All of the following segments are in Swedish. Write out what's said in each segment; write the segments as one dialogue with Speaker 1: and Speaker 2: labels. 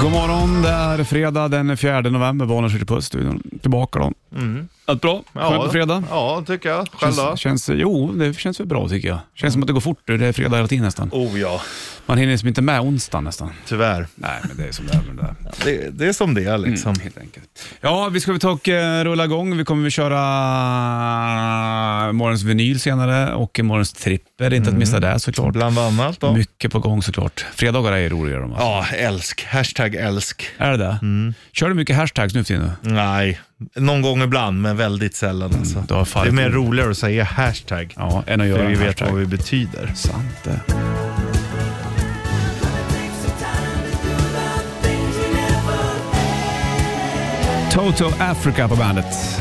Speaker 1: God morgon, det är fredag den 4 november. Bonniers sitter på studion. Tillbaka då. Allt bra? Skönt på fredag?
Speaker 2: Ja, tycker jag. Mm. Själv
Speaker 1: Känns, känns,
Speaker 2: då?
Speaker 1: jo, det känns väl bra tycker jag. Känns som att det går fort. Det är fredag hela tiden nästan.
Speaker 2: Oh ja,
Speaker 1: Man hinner liksom inte med onsdag nästan.
Speaker 2: tyvärr.
Speaker 1: Nej, men det är som det är med det där.
Speaker 2: Det, det är som det är liksom.
Speaker 1: Mm, helt enkelt. Ja, vi ska väl ta och eh, rulla igång. Vi kommer väl köra morgons vinyl senare och morgons trippel. Inte
Speaker 2: Mm.
Speaker 1: att missa det såklart.
Speaker 2: Bland annat då.
Speaker 1: Mycket på gång såklart. Fredagar är roliga de. Alltså.
Speaker 2: Ja, Mm. älsk. Hashtag älsk.
Speaker 1: Är det det? Kör du mycket hashtags nu för tiden?
Speaker 2: Nej, någon gång ibland men väldigt sällan alltså.
Speaker 1: du har fan-
Speaker 2: det är mer roligare att säga hashtag.
Speaker 1: Mm. Ja, än att göra
Speaker 2: För vi
Speaker 1: en
Speaker 2: vet
Speaker 1: hashtag.
Speaker 2: vad vi betyder.
Speaker 1: Sant det. Toto Africa på bandet.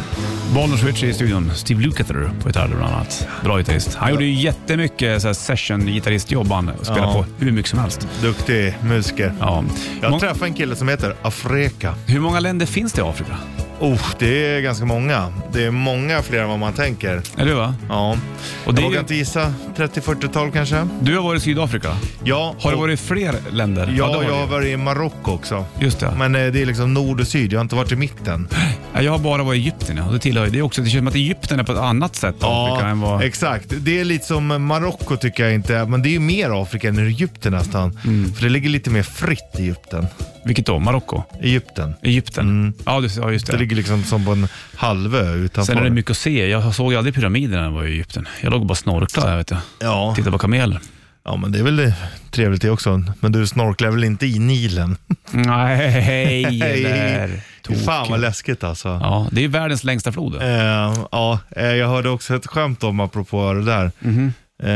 Speaker 1: Bollner Switch i studion. Steve Lukather på gitarr bland annat. Bra gitarrist. Han gjorde ju jättemycket så här session-gitarristjobb han. Spelade
Speaker 2: Ja.
Speaker 1: på hur mycket som helst.
Speaker 2: Duktig musiker.
Speaker 1: Ja.
Speaker 2: Jag
Speaker 1: Mång-
Speaker 2: träffade en kille som heter Afreka.
Speaker 1: hur många länder finns det i Afrika?
Speaker 2: Oh, det är ganska många. Det är många fler än vad man tänker.
Speaker 1: Eller hur? Va?
Speaker 2: Ja,
Speaker 1: Och det
Speaker 2: jag
Speaker 1: är
Speaker 2: vågar
Speaker 1: ju,
Speaker 2: inte gissa. 30-40-tal kanske?
Speaker 1: du har varit i Sydafrika.
Speaker 2: Ja,
Speaker 1: Har det
Speaker 2: och-
Speaker 1: varit i fler länder? det
Speaker 2: Ja,
Speaker 1: har
Speaker 2: jag har
Speaker 1: det.
Speaker 2: varit i Marocko också.
Speaker 1: Just det.
Speaker 2: Men eh, det är liksom nord och syd, jag har inte varit i mitten.
Speaker 1: Ja, Jag har bara varit i Egypten. Ja. Det, tillhör, ju- det, är också, det känns som att Egypten är på ett annat sätt Afrika än vad...
Speaker 2: exakt. Det är lite som Marocko tycker jag inte, men det är ju mer Afrika än Egypten nästan.
Speaker 1: Mm.
Speaker 2: För det ligger lite mer fritt i Egypten.
Speaker 1: Vilket då? Marocko?
Speaker 2: Egypten.
Speaker 1: Egypten? Ja, det, ja, just
Speaker 2: Mm. Det
Speaker 1: det.
Speaker 2: ligger liksom som på en halvö utanför.
Speaker 1: Sen är det mycket att se. Jag såg ju aldrig pyramiderna när jag var i Egypten. Jag låg och bara snorklade där, vet jag.
Speaker 2: ja.
Speaker 1: Tittade på kameler.
Speaker 2: ja, men det är väl trevligt det också. Men du snorklar väl inte i Nilen?
Speaker 1: Nej, där. Tokigt.
Speaker 2: Fan vad läskigt alltså.
Speaker 1: Ja, det är världens längsta flod.
Speaker 2: Eh, ja, eh, jag hörde också ett skämt om apropå det där. Eh,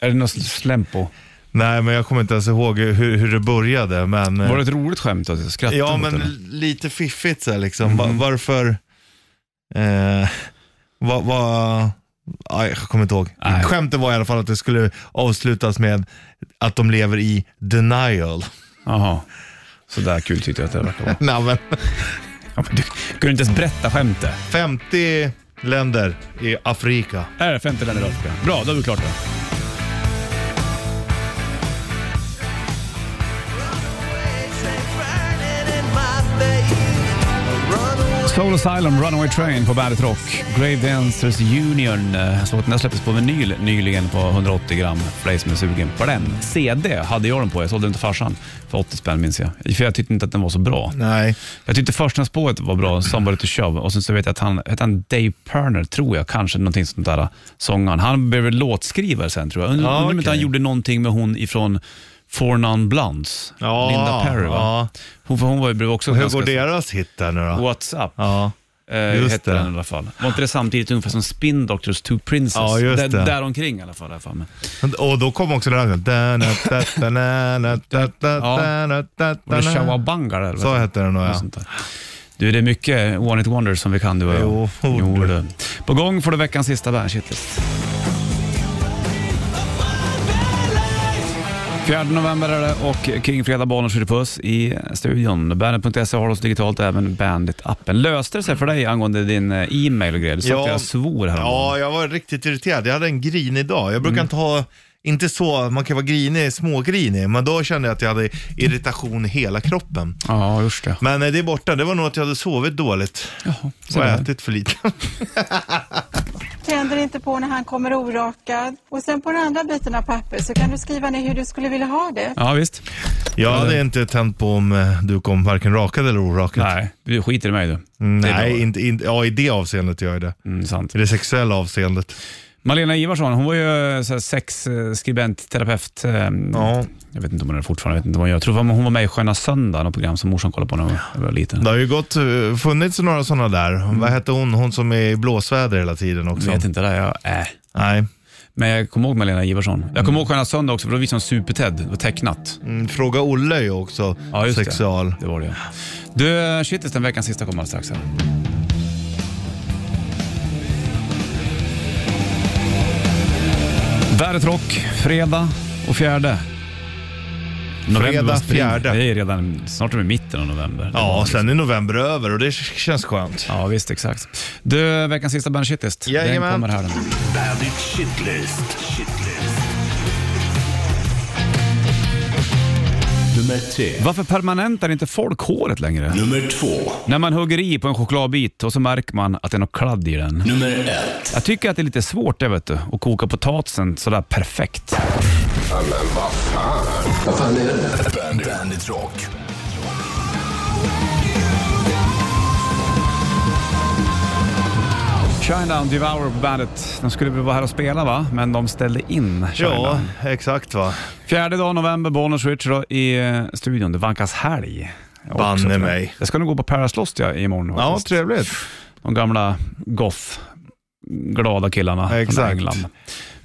Speaker 1: Är det något slämp på?
Speaker 2: Nej, men jag kommer inte ens ihåg hur, hur det började. Men, eh,
Speaker 1: Var det ett roligt skämt? Att jag skrattade
Speaker 2: ja,
Speaker 1: åt Mm.
Speaker 2: men
Speaker 1: eller?
Speaker 2: lite fiffigt så här, liksom. Va- Varför... Eh, va, va, aj, jag kommer inte ihåg.
Speaker 1: Nej.
Speaker 2: Skämtet var i alla fall att det skulle avslutas med att de lever i denial.
Speaker 1: Jaha. Sådär kul tyckte jag att det verkar vara.
Speaker 2: Nej, men,
Speaker 1: Ja, men du kunde inte ens berätta skämtet.
Speaker 2: 50 länder i Afrika.
Speaker 1: Är det 50 länder i Afrika? Bra, Äh, då har vi klart det. Soul Asylum, Runaway Train på Bandet Rock. Grave Dancers Union. eh, Så att den här släpptes på vinyl nyligen på 180 gram. För dig som är sugen på den. CD hade jag den på. Jag sålde den till farsan för 80 spänn minns jag. För jag tyckte inte att den var så bra.
Speaker 2: Nej.
Speaker 1: Jag tyckte första spåret var bra, Somebody to Shove, och sen så vet jag att han, hette han Dave Perner, tror jag, kanske någonting sånt där, sångaren. Han blev väl låtskrivare sen tror jag. Undrar
Speaker 2: Ja,
Speaker 1: undrar om inte
Speaker 2: okej.
Speaker 1: han gjorde någonting med hon ifrån Four Non Blondes,
Speaker 2: Ja,
Speaker 1: Linda Perry va?
Speaker 2: ja.
Speaker 1: Hon, för hon var ju blev också
Speaker 2: Hur
Speaker 1: ganska-
Speaker 2: går deras hit där nu då?
Speaker 1: What's up?
Speaker 2: Ja.
Speaker 1: Eh,
Speaker 2: just
Speaker 1: hette
Speaker 2: det.
Speaker 1: den i alla fall. Var inte det samtidigt ungefär som Spin Doctors Two Princess?
Speaker 2: Ja, just
Speaker 1: Där,
Speaker 2: det.
Speaker 1: däromkring i alla fall. i alla fall. Men-
Speaker 2: Och då kom också den här.
Speaker 1: Var det
Speaker 2: Ja.
Speaker 1: Shawabanga där?
Speaker 2: Så hette den då
Speaker 1: Något
Speaker 2: ja.
Speaker 1: sånt där. Du, det är mycket One It Wonder som vi kan du och jag.
Speaker 2: Jo,
Speaker 1: jo
Speaker 2: du.
Speaker 1: du. På gång får du veckans sista bandshitlist. 4 november är det och King Fredag Barnen skjuter puss i studion. Bandet.se E har oss digitalt även Bandit-appen. Löste det sig för dig angående din eh, e-mail och grejer? Du sa att jag svor här.
Speaker 2: Ja, jag var riktigt irriterad. Jag hade en grinig dag. Jag brukar
Speaker 1: Mm.
Speaker 2: inte ha, inte så, man kan vara grinig, smågrinig, men då kände jag att jag hade irritation i hela kroppen.
Speaker 1: ja, just det.
Speaker 2: Men eh, det är borta, det var nog att jag hade sovit dåligt
Speaker 1: Jaha, så
Speaker 2: och
Speaker 1: är det.
Speaker 2: ätit för lite.
Speaker 3: tänder inte på när han kommer orakad. Och sen på den andra biten av papper så kan du skriva ner hur du skulle vilja ha det.
Speaker 1: Ja, visst.
Speaker 2: Jag hade inte tänt på om eh, du kom varken rakad eller orakad.
Speaker 1: Nej, du skiter i mig du. Det är bra.
Speaker 2: Nej, inte, inte, ja i det avseendet gör jag det.
Speaker 1: Mm, sant.
Speaker 2: I det sexuella avseendet.
Speaker 1: Malena Ivarsson, hon var ju eh, så här sexskribent, terapeut. eh,
Speaker 2: Ja.
Speaker 1: Jag vet inte om hon är det fortfarande, jag vet inte vad hon gör. Jag tror att hon var med i Sköna söndagen, något program som morsan kollade på när hon var liten.
Speaker 2: Det har ju gått, eh, funnits några sådana där. Vad hette hon, hon som är i blåsväder hela tiden också?
Speaker 1: Jag Mm. vet inte, där jag, äh.
Speaker 2: Nej.
Speaker 1: Men jag kommer ihåg Malena Ivarsson. Jag kommer ihåg Sköna söndag också, för då visade hon Super-Ted, det var tecknat.
Speaker 2: Mm, Fråga Olle är ju också
Speaker 1: Ja, just det.
Speaker 2: sexual.
Speaker 1: Det var det ja. Du, shitlist den veckans sista kommer alldeles strax här. Värdet Rock, fredag och fjärde. November
Speaker 2: Fredag,
Speaker 1: var spring-
Speaker 2: fjärde.
Speaker 1: Det är redan, snart är det mitten av november. Det
Speaker 2: Ja,
Speaker 1: var-
Speaker 2: sen är november över och det känns skönt.
Speaker 1: Ja, visst exakt. Du, veckans sista band shitlist. Den
Speaker 2: Jajamän.
Speaker 1: kommer här. Den.
Speaker 4: Bandit Shitlist. Shitlist. Nummer Nummer tre.
Speaker 1: Varför permanentar inte folk håret längre?
Speaker 4: Nummer två.
Speaker 1: När man hugger i på en chokladbit och så märker man att det är något kladd i den.
Speaker 4: Nummer ett.
Speaker 1: Jag tycker att det är lite svårt det vet du, att koka potatisen sådär perfekt.
Speaker 4: Vad fan är det? Bandit, Bandit Rock.
Speaker 1: Shinedown Devour på bandet. De skulle väl vara här och spela va, men de ställde in
Speaker 2: Ja,
Speaker 1: Shinedown.
Speaker 2: exakt va.
Speaker 1: Fjärde dagen november, Bonus Rich då, i eh, studion. Det vankas helg. Jag
Speaker 2: Banne
Speaker 1: också, tror jag.
Speaker 2: mig.
Speaker 1: Jag ska nog gå på Paraslust ja, imorgon.
Speaker 2: Ja,
Speaker 1: faktiskt.
Speaker 2: trevligt.
Speaker 1: De gamla goth, glada killarna från
Speaker 2: Exakt.
Speaker 1: England.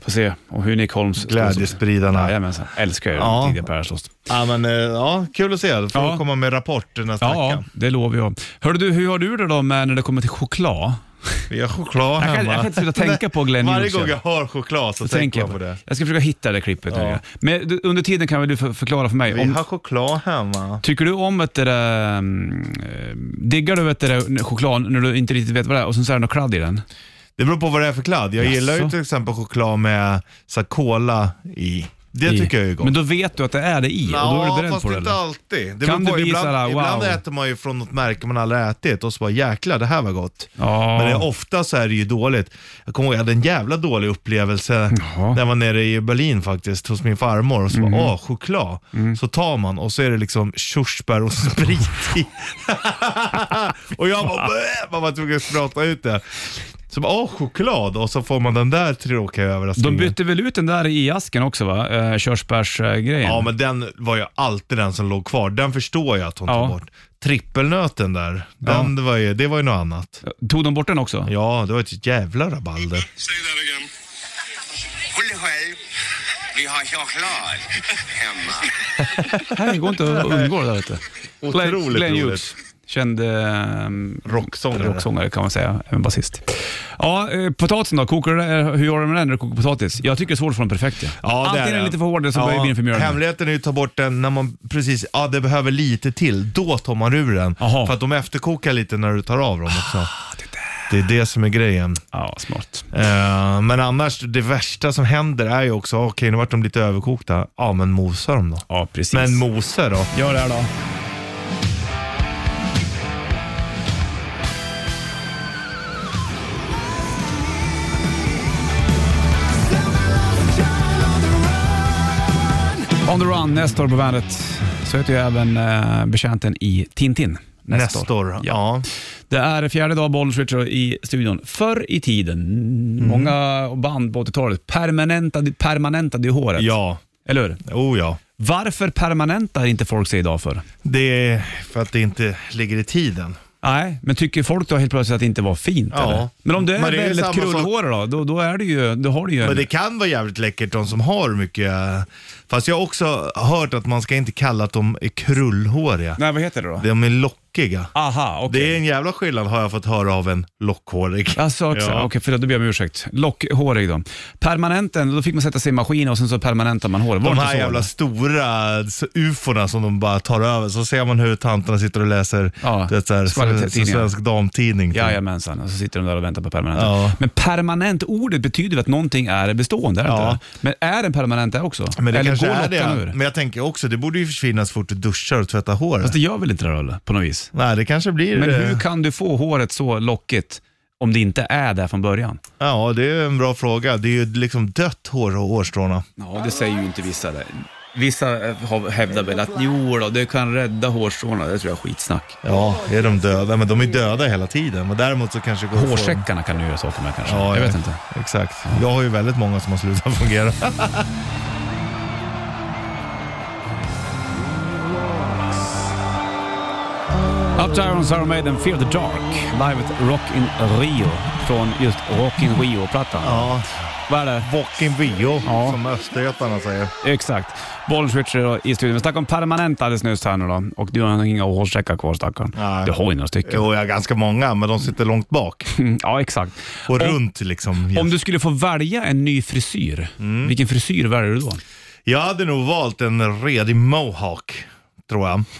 Speaker 1: Får se och hur Nick Holmes...
Speaker 2: Glädjespridarna.
Speaker 1: Jajamensan, älskar ju
Speaker 2: Ja.
Speaker 1: den tidiga Paraslust.
Speaker 2: Ja, men eh, ja, kul att se. Då får
Speaker 1: Ja.
Speaker 2: du komma med rapporter nästa
Speaker 1: Ja,
Speaker 2: vecka.
Speaker 1: det lovar jag. Hörru du, hur har du det då med när det kommer till choklad?
Speaker 2: Vi har choklad
Speaker 1: Jag kan,
Speaker 2: hemma.
Speaker 1: jag kan inte sluta tänka på Glenn
Speaker 2: Varje
Speaker 1: Hughes,
Speaker 2: gång jag
Speaker 1: jag
Speaker 2: har choklad så, tänker
Speaker 1: tänker
Speaker 2: jag på det.
Speaker 1: Jag ska försöka hitta det klippet.
Speaker 2: Ja.
Speaker 1: nu. Men du, under tiden kan väl du för- förklara för mig.
Speaker 2: Vi
Speaker 1: Om,
Speaker 2: har choklad hemma.
Speaker 1: Tycker du om ett det där, mm, eh, diggar du vet det där, choklad när du inte riktigt vet vad det är och sen så är det något kladd i den?
Speaker 2: Det beror på vad det är för kladd. Jag gillar ju
Speaker 1: Jaså?
Speaker 2: till exempel choklad med så här, cola i. Det tycker jag är gott.
Speaker 1: Men då vet du att det är det i och då är du beredd
Speaker 2: fast
Speaker 1: på det
Speaker 2: inte
Speaker 1: eller?
Speaker 2: alltid. Det
Speaker 1: Kan det
Speaker 2: beror på,
Speaker 1: bli
Speaker 2: ibland,
Speaker 1: så här,
Speaker 2: ibland
Speaker 1: wow?
Speaker 2: äter man ju från något märke man aldrig ätit och så bara jäklar det här var gott.
Speaker 1: Ja.
Speaker 2: Men det, är ofta så är det ju dåligt. Jag kommer ihåg jag hade en jävla dålig upplevelse
Speaker 1: Jaha. Mm.
Speaker 2: när jag var nere i Berlin faktiskt hos min farmor och så bara, åh choklad. Så tar man och så är det liksom körsbär och sprit i. och jag bara, "Bäh!" man var tvungen att prata ut det. Så bara, åh choklad och så får man den där tråkiga överraskningen.
Speaker 1: De bytte väl ut den där i asken också va? Eh, Körsbärsgrejen.
Speaker 2: Ja, men den var ju alltid den som låg kvar. Den förstår jag att hon
Speaker 1: Ja.
Speaker 2: tog bort. Trippelnöten där, den var ju, det var ju något annat.
Speaker 1: Tog de bort den också?
Speaker 2: Ja, det var ett jävla rabalder.
Speaker 5: Say that again. Håll själv. Vi har choklad hemma.
Speaker 1: Här går inte att undgå det där vet du. Glenn-
Speaker 2: Otroligt
Speaker 1: Glenn
Speaker 2: roligt.
Speaker 1: Hughes, Känd ehm,
Speaker 2: Rocksångare.
Speaker 1: rocksångare kan man säga, även basist. Ja, eh, potatisen då, kokar du, eh, hur gör du med den när du kokar potatis? Jag tycker det är svårt att få den perfekt. Ja.
Speaker 2: Ja, det
Speaker 1: Antingen är den lite för hård eller så blir den för mjölig.
Speaker 2: Hemligheten är ju att ta bort den när man precis, ja det behöver lite till. Då tar man ur den.
Speaker 1: Aha.
Speaker 2: För att de efterkokar lite när du tar av dem också.
Speaker 1: Ah,
Speaker 2: Det är det som är grejen.
Speaker 1: Ja, smart.
Speaker 2: Eh, men annars, det värsta som händer är ju också, okej nu vart de lite överkokta. Ja men mosa dem då.
Speaker 1: Ja, precis.
Speaker 2: Men mosa då.
Speaker 1: Gör det här då. On the run, Nestor på bandet. Så heter ju även eh, betjänten i Tintin. Nestor.
Speaker 2: Nestor.
Speaker 1: Ja.
Speaker 2: Ja.
Speaker 1: Det är fjärde dag Bollswitcher i studion. Förr i tiden,
Speaker 2: Mm.
Speaker 1: många band på 80-talet permanentade, permanentade ju håret.
Speaker 2: Ja.
Speaker 1: Eller hur?
Speaker 2: Oh ja.
Speaker 1: Varför permanentar inte folk sig idag för?
Speaker 2: Det är för att det inte ligger i tiden.
Speaker 1: Nej, men tycker folk då helt plötsligt att det inte var fint?
Speaker 2: Ja.
Speaker 1: Eller? Men om det är
Speaker 2: Men det är ju
Speaker 1: väldigt
Speaker 2: samma
Speaker 1: krullhårig då, då, då, är det ju, då har du ju en...
Speaker 2: Men det kan vara jävligt läckert de som har mycket. eh, Fast jag har också hört att man ska inte kalla att de är krullhåriga.
Speaker 1: Nej, vad heter det då?
Speaker 2: De är lockiga.
Speaker 1: Aha, okej.
Speaker 2: Det är en jävla skillnad har jag fått höra av en lockhårig.
Speaker 1: Alltså, också,
Speaker 2: Ja.
Speaker 1: okej, för då ber jag om ursäkt. Lockhårig då. Permanenten, då fick man sätta sig i maskinen och sen så permanentar man håret. Var
Speaker 2: De
Speaker 1: det
Speaker 2: här
Speaker 1: inte så,
Speaker 2: jävla
Speaker 1: eller?
Speaker 2: stora så ufona som de bara tar över. Så ser man hur tanterna sitter och läser
Speaker 1: Ja,
Speaker 2: det så här,
Speaker 1: skvallertidningar.
Speaker 2: svensk damtidning. typ.
Speaker 1: Jajamensan, och så sitter de där och väntar på permanenten.
Speaker 2: Ja.
Speaker 1: Men permanentordet betyder ju att någonting är bestående, är det
Speaker 2: Ja.
Speaker 1: inte det? Men är den permanent där också?
Speaker 2: Men det
Speaker 1: eller
Speaker 2: kanske
Speaker 1: går
Speaker 2: är det.
Speaker 1: lockan ur?
Speaker 2: Men jag tänker också, det borde ju försvinna så fort du duschar och tvättar håret.
Speaker 1: Fast det gör väl inte det då, eller? på något vis?
Speaker 2: Nej, det kanske blir...
Speaker 1: Men
Speaker 2: eh,
Speaker 1: hur kan du få håret så lockigt om det inte är där från början?
Speaker 2: Ja, det är en bra fråga. Det är ju liksom dött hår och hårstråna.
Speaker 1: Ja, det säger ju inte vissa. Där. Vissa eh, har- hävdar väl att jo då, det kan rädda hårstråna. Det tror jag är skitsnack.
Speaker 2: Ja, är de döda? Men de är döda hela tiden. Men däremot så kanske det går att få-
Speaker 1: Hårsäckarna kan du göra saker med kanske.
Speaker 2: Ja,
Speaker 1: jag vet inte.
Speaker 2: Exakt. Jag har ju väldigt många som har slutat fungera.
Speaker 1: Up to Irons, Iron Maiden, Fear the Dark. Live at Rock in Rio. Från just Rock in Rio-plattan.
Speaker 2: Ja,
Speaker 1: Vad är det?
Speaker 2: Vocken Vio,
Speaker 1: Ja.
Speaker 2: som östgötarna säger.
Speaker 1: Exakt. Bollswitcher i studion. Vi snackade om permanent alldeles nyss här nu då. Och du har inga hårsäckar kvar stackarn.
Speaker 2: Nej.
Speaker 1: Du har ju några stycken.
Speaker 2: Jo, jag har ganska många, men de sitter långt bak.
Speaker 1: Mm, Ja, exakt.
Speaker 2: Och
Speaker 1: Om-
Speaker 2: runt liksom.
Speaker 1: Om du skulle få välja en ny frisyr,
Speaker 2: Mm.
Speaker 1: vilken frisyr väljer du då?
Speaker 2: Jag hade nog valt en redig mohawk, tror jag.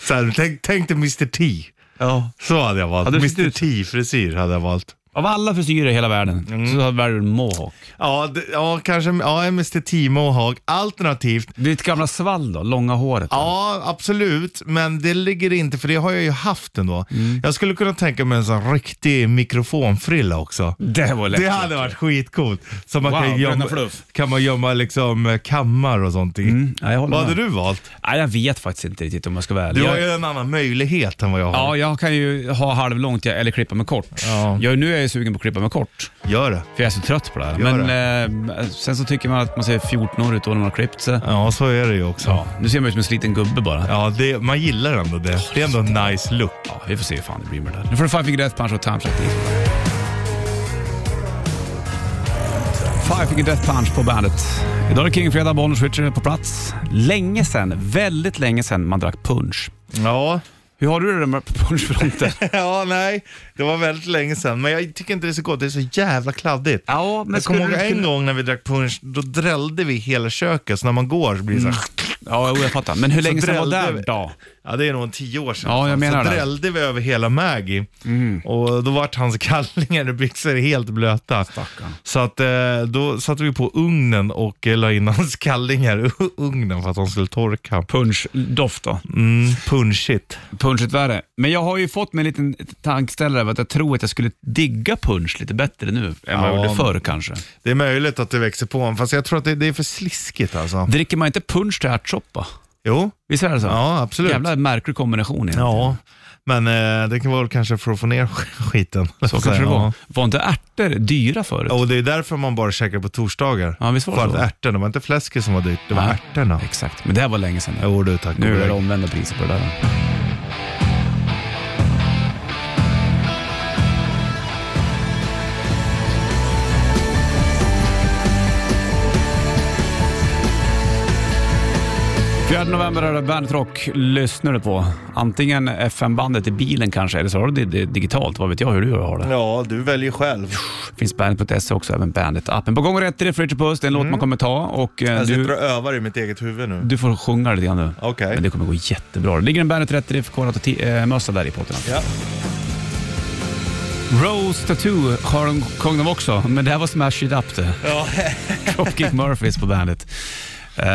Speaker 2: Så här, tänk, tänk dig Mr T.
Speaker 1: Ja.
Speaker 2: Så hade jag valt.
Speaker 1: Hade du sett
Speaker 2: Mr
Speaker 1: ut så?
Speaker 2: T-frisyr hade jag valt.
Speaker 1: Av alla frisyrer i hela världen
Speaker 2: Mm.
Speaker 1: så väljer du en mohawk.
Speaker 2: Ja, d- ja kanske ja, Mr T Mohawk. Alternativt,
Speaker 1: Ditt gamla svall då? Långa håret?
Speaker 2: ja absolut, men det ligger inte, för det har jag ju haft ändå. Jag skulle kunna tänka mig en sån riktig mikrofonfrilla också.
Speaker 1: Det var lätt.
Speaker 2: Det hade varit skitcoolt. Så man
Speaker 1: Wow,
Speaker 2: kan,
Speaker 1: bröderna
Speaker 2: gömma,
Speaker 1: Fluff.
Speaker 2: kan man gömma liksom eh, kammar och sånt i.
Speaker 1: Ja, jag håller
Speaker 2: Vad hade
Speaker 1: med.
Speaker 2: du valt?
Speaker 1: Nej, jag vet faktiskt inte riktigt om jag ska vara ärlig.
Speaker 2: Du har
Speaker 1: Jag-
Speaker 2: ju en annan möjlighet än vad jag har.
Speaker 1: Ja, jag kan ju ha halvlångt jag- eller klippa mig kort.
Speaker 2: Ja.
Speaker 1: Jag, nu är jag ju sugen på att klippa mig kort,
Speaker 2: Gör det.
Speaker 1: för jag är så trött på det här.
Speaker 2: Gör
Speaker 1: Men eh, sen så tycker man att man ser 14 år ut då när man har klippt sig.
Speaker 2: Ja, så är det ju också.
Speaker 1: Ja,
Speaker 2: Ja.
Speaker 1: nu ser man ut som en sliten gubbe bara. Ja.
Speaker 2: det, man gillar ändå det. Det är ändå en nice look.
Speaker 1: vi får se hur fan det blir med det där. Nu får du Five Finger Death Punch och Time Shot Death. Five Finger Death Punch på bandet. Idag är det King Fredag, Bollnäs Richard på plats. Länge sen, väldigt länge sen man drack punch.
Speaker 2: Ja.
Speaker 1: Hur har du det med punschfronten?
Speaker 2: ja, nej. Det var väldigt länge sedan, men jag tycker inte det är så gott. Det är så jävla kladdigt.
Speaker 1: ja, men
Speaker 2: jag kommer ihåg en gång när vi drack punch, då drällde vi hela köket, så när man går så blir det så
Speaker 1: Mm.
Speaker 2: här,
Speaker 1: Ja, jo, jag fattar. Men hur länge sen var
Speaker 2: drällde
Speaker 1: det
Speaker 2: vi.
Speaker 1: då?
Speaker 2: Ja, det är nog en tio år sedan.
Speaker 1: Ja, jag menar
Speaker 2: så
Speaker 1: det. Mm.
Speaker 2: drällde vi över hela Maggie och då vart hans kallingar och byxor helt blöta.
Speaker 1: Stackarn.
Speaker 2: Så att, eh, då satte vi på ugnen och eh, la in hans kallingar i ugnen för att de skulle torka.
Speaker 1: Punschdoft då?
Speaker 2: Mm, punchigt.
Speaker 1: Punchigt värre. Men jag har ju fått mig en liten tankeställare över att jag tror att jag skulle digga punch lite bättre nu än vad jag
Speaker 2: Ja,
Speaker 1: gjorde
Speaker 2: men-
Speaker 1: förr kanske.
Speaker 2: Det är möjligt att det växer på honom, fast jag tror att det, det är för sliskigt alltså.
Speaker 1: Dricker man inte punch till ärtsoppa?
Speaker 2: Jo,
Speaker 1: Visst är det så?
Speaker 2: ja absolut.
Speaker 1: Jävla märklig kombination egentligen.
Speaker 2: Ja, men eh, det kan vara kanske för att få ner skiten.
Speaker 1: Så kanske det var. Var inte ärtor dyra förut?
Speaker 2: Ja. Och det är därför man bara käkar på torsdagar.
Speaker 1: Ja, visst var det
Speaker 2: För
Speaker 1: så?
Speaker 2: att ärtorna, det var inte fläsket som var dyrt, det var
Speaker 1: Nej.
Speaker 2: ärtorna.
Speaker 1: Exakt, men det här var länge sedan.
Speaker 2: Jo du, tack och
Speaker 1: Nu är det
Speaker 2: belägg.
Speaker 1: omvända priser på det där. Fjärde november är det Bandet Rock lyssnar du på. Antingen FM-bandet i bilen kanske, eller så har du det di- digitalt. Vad vet jag hur du har det.
Speaker 2: Ja, du väljer själv.
Speaker 1: Finns bandet.se E också, även Bandet-appen. På gång och rätt i det, Fritiof Puss. Det är en låt man kommer ta. Och, eh,
Speaker 2: Mm. Jag
Speaker 1: du...
Speaker 2: sitter och övar i mitt eget huvud nu.
Speaker 1: Du får sjunga lite grann nu.
Speaker 2: Okej.
Speaker 1: Men det kommer gå jättebra. Det ligger en Bandet 30 FK-mössa eh, där i potten.
Speaker 2: Ja.
Speaker 1: Rose Tattoo har de, sjöng de också, men det här var Smash It Up det.
Speaker 2: Ja.
Speaker 1: Dropkick Murphys på bandet. Eh,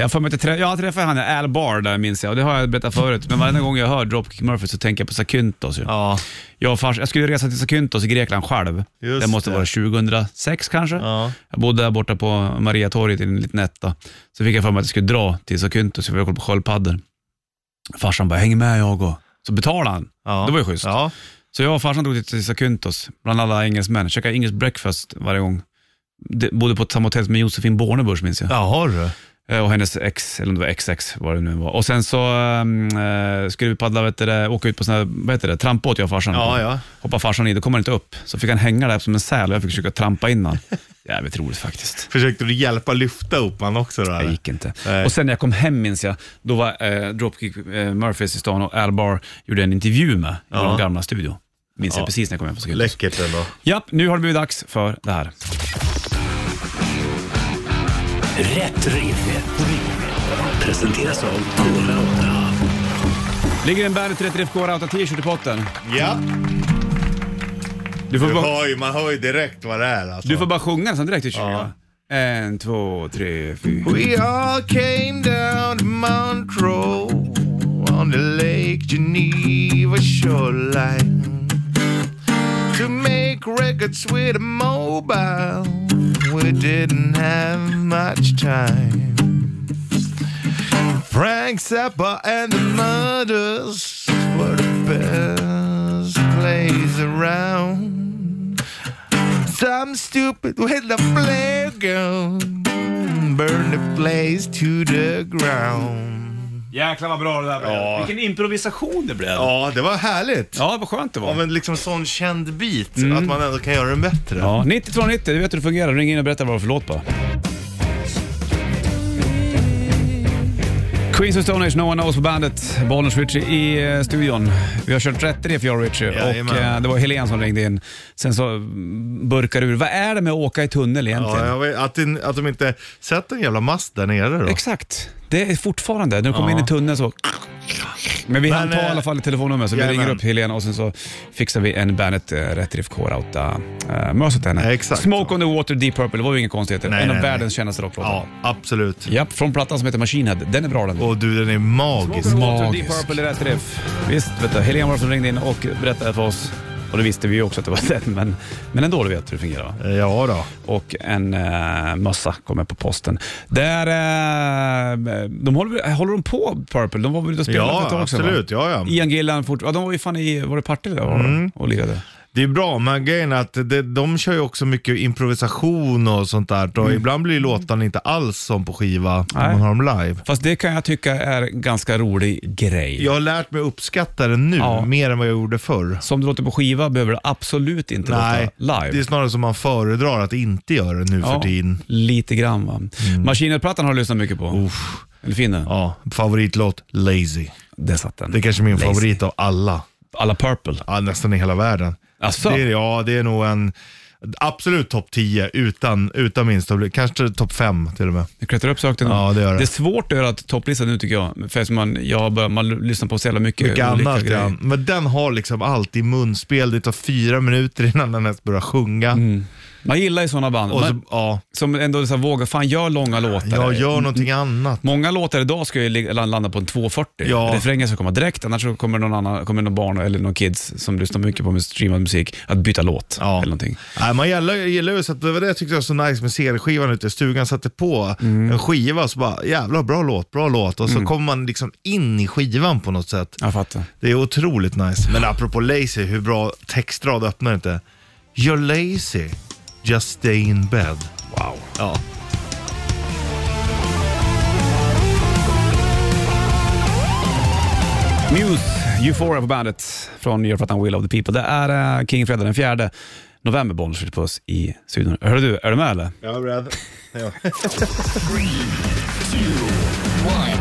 Speaker 1: jag, får mig inte trä- jag träffade han Al Barr där minns jag och det har jag berättat förut. Men varenda gång jag hör Dropkick Murphys så tänker jag på Sakyntos. ju.
Speaker 2: ja.
Speaker 1: Jag, och fars, jag skulle resa till Sakyntos i Grekland själv.
Speaker 2: Just
Speaker 1: det måste
Speaker 2: det.
Speaker 1: vara 2006 kanske.
Speaker 2: Ja.
Speaker 1: Jag bodde där borta på Mariatorget i en liten etta. Så fick jag för mig att jag skulle dra till Sakyntos, för vi kolla på sköldpaddor. Farsan bara, häng med jag och. Så betalade han.
Speaker 2: Ja.
Speaker 1: Det var ju schysst.
Speaker 2: Ja.
Speaker 1: Så jag och farsan drog till Sakyntos, bland alla engelsmän. Käkade engelsk breakfast varje gång. Det, bodde på ett samma hotell som Josefin Bornebusch minns jag.
Speaker 2: Jaha du.
Speaker 1: Eh, Och hennes ex, eller om det var XX, vad det nu var. Och sen så ehm, eh, skulle vi paddla, vet du, det, åka ut på sån här, vad heter det, trampbåt jag och farsan.
Speaker 2: Ja, ja.
Speaker 1: Hoppade farsan i, då kom han inte upp. Så fick han hänga där som en säl och jag fick försöka trampa in han. Jävligt roligt faktiskt.
Speaker 2: Försökte du hjälpa lyfta upp han också då
Speaker 1: Det
Speaker 2: eller?
Speaker 1: gick inte.
Speaker 2: Nej.
Speaker 1: Och sen när jag kom hem minns jag, då var eh, Dropkick eh, Murphys i stan och Al Barr gjorde en intervju med i
Speaker 2: Ja.
Speaker 1: vår gamla studio. Minns jag
Speaker 2: Ja.
Speaker 1: precis när jag kom hem från skolan.
Speaker 2: Läckert ändå.
Speaker 1: Japp, nu har det blivit dags för det här.
Speaker 4: Rätt riff. Presenteras av Dora 8.
Speaker 1: Ligger en Bandet 30 FK Rauta t-shirt i potten.
Speaker 2: Ja,
Speaker 1: Du får,
Speaker 2: du
Speaker 1: bara,
Speaker 2: hör ju, man hör ju direkt vad det är alltså.
Speaker 1: du får bara sjunga den sen direkt. tycker jag.
Speaker 2: Ja.
Speaker 1: En, två, tre, fyra.
Speaker 2: We all came down to Montreux on the Lake Geneva shoreline to make records with a mobile. We didn't have much time. Frank Zappa and the Murders were the best plays around. Some stupid with the playground burn the place to the ground.
Speaker 1: Jäklar vad bra det där blev.
Speaker 2: Ja.
Speaker 1: Vilken improvisation det blev. Ja,
Speaker 2: Ja, det var härligt.
Speaker 1: vad skönt det var.
Speaker 2: Av en liksom sån känd bit, att man ändå kan göra den bättre.
Speaker 1: Ja, 9290, du vet hur det fungerar. Ring in och berätta vad det var för låt bara. Queens of Stone Age, No One Knows på bandet. Bollnäs Ritchie i eh, studion. Vi har kört rätt i det för jag och Ritchie och
Speaker 2: Jajamän.
Speaker 1: eh, det var Helen som ringde in. Sen så mm, burkar ur. Vad är det med att åka i tunnel egentligen?
Speaker 2: Ja, jag vet, att, det- att de inte sätter en jävla mast där nere då.
Speaker 1: Exakt. Det är fortfarande, när du kommer
Speaker 2: Ja.
Speaker 1: in i tunneln så Men vi
Speaker 2: Men,
Speaker 1: hann ta i
Speaker 2: eh,
Speaker 1: alla fall ett telefonnummer så vi
Speaker 2: jajamän.
Speaker 1: ringer upp Helena och sen så fixar vi en Bandet eh, Rätt Riff K-Rauta-mössa till henne.
Speaker 2: Exakt.
Speaker 1: Smoke on the Water, Deep Purple, det var ju inga konstigheter.
Speaker 2: Nej,
Speaker 1: en av
Speaker 2: nej, nej.
Speaker 1: världens kändaste rocklåtar.
Speaker 2: Ja, absolut.
Speaker 1: Japp, från plattan som heter Machine Head. Den är bra den.
Speaker 2: Och du, den är magisk.
Speaker 1: Smoke on the Water, Deep
Speaker 2: Magisk.
Speaker 1: Purple är rätt riff. Visst, vet du, Helena var det som ringde in och berättade för oss. Och det visste vi ju också att det var den, men, men ändå, du vet hur det fungerar va?
Speaker 2: Eh, Ja då.
Speaker 1: och en eh, mössa kommer på posten. Där, eh, de håller, håller de på Purple? De var väl ute och spelade
Speaker 2: Ja,
Speaker 1: för ett tag sedan? va?
Speaker 2: absolut. Ja, ja. Mm.
Speaker 1: Ian Gillan, fort, ja, de var ju fan i, var det Partille där var de och lirade?
Speaker 2: Det är bra, men grejen är att det, de kör ju också mycket improvisation och sånt där. Och ibland blir låtarna inte alls som på skiva när
Speaker 1: Nej.
Speaker 2: man har dem live.
Speaker 1: Fast det kan jag tycka är en ganska rolig grej.
Speaker 2: Jag har lärt mig uppskatta det nu
Speaker 1: Ja.
Speaker 2: mer än vad jag gjorde förr.
Speaker 1: Som det låter på skiva behöver det absolut inte
Speaker 2: Nej,
Speaker 1: låta
Speaker 2: det är
Speaker 1: live.
Speaker 2: snarare som man föredrar att inte göra det nu för tiden. Mm.
Speaker 1: lite grann va. Maskinetplattan har du lyssnat mycket på.
Speaker 2: Uff.
Speaker 1: Eller fin den?
Speaker 2: Ja, favoritlåt Lazy.
Speaker 1: Där satt den.
Speaker 2: Det är kanske min
Speaker 1: Lazy.
Speaker 2: favorit av alla.
Speaker 1: Alla Purple.
Speaker 2: Ja, nästan i hela världen.
Speaker 1: Asså?
Speaker 2: Det är, ja, det är nog en absolut topp 10 utan, utan minsta Kanske topp 5 till och med.
Speaker 1: Det klättrar upp sökte den.
Speaker 2: Ja, det gör det.
Speaker 1: Det är svårt att göra topplistan nu tycker jag. För eftersom man, jag har börjat- man lyssnar på så jävla mycket,
Speaker 2: Mycket
Speaker 1: olika
Speaker 2: annat
Speaker 1: grejer.
Speaker 2: ja. Men den har liksom alltid munspel. Det tar fyra minuter innan den ens börjar sjunga.
Speaker 1: Mm. Man gillar ju sådana band.
Speaker 2: Och så,
Speaker 1: Man,
Speaker 2: ja,
Speaker 1: som ändå så här, vågar, fan gör långa låtar.
Speaker 2: jag gör någonting
Speaker 1: Mm.
Speaker 2: annat.
Speaker 1: Många låtar idag ska ju li- landa på en 2.40.
Speaker 2: Ja.
Speaker 1: Refrängen ska komma direkt, annars så kommer någon, annan, kommer någon barn eller någon kids som lyssnar mycket på streamad musik att byta låt.
Speaker 2: Ja.
Speaker 1: Eller någonting.
Speaker 2: Nej, man gillar, gillar ju, så att det var det jag tyckte var så nice med CD-skivan ute i stugan. Satte på
Speaker 1: Mm.
Speaker 2: en skiva och så bara, jävla bra låt, bra låt. Och så kommer man liksom in i skivan på något sätt.
Speaker 1: Jag fattar.
Speaker 2: Det är otroligt nice. Men apropå lazy, hur bra textrad öppnar inte? You're lazy, just stay in bed.
Speaker 1: Wow.
Speaker 2: Ja.
Speaker 1: Muse, Euphoria på bandet från Götplattan Will of the People. Det är eh, King Fredag den 4 november, Bollnäs skjuter på oss i studion. Hör du, är du med eller?
Speaker 2: Jag är beredd.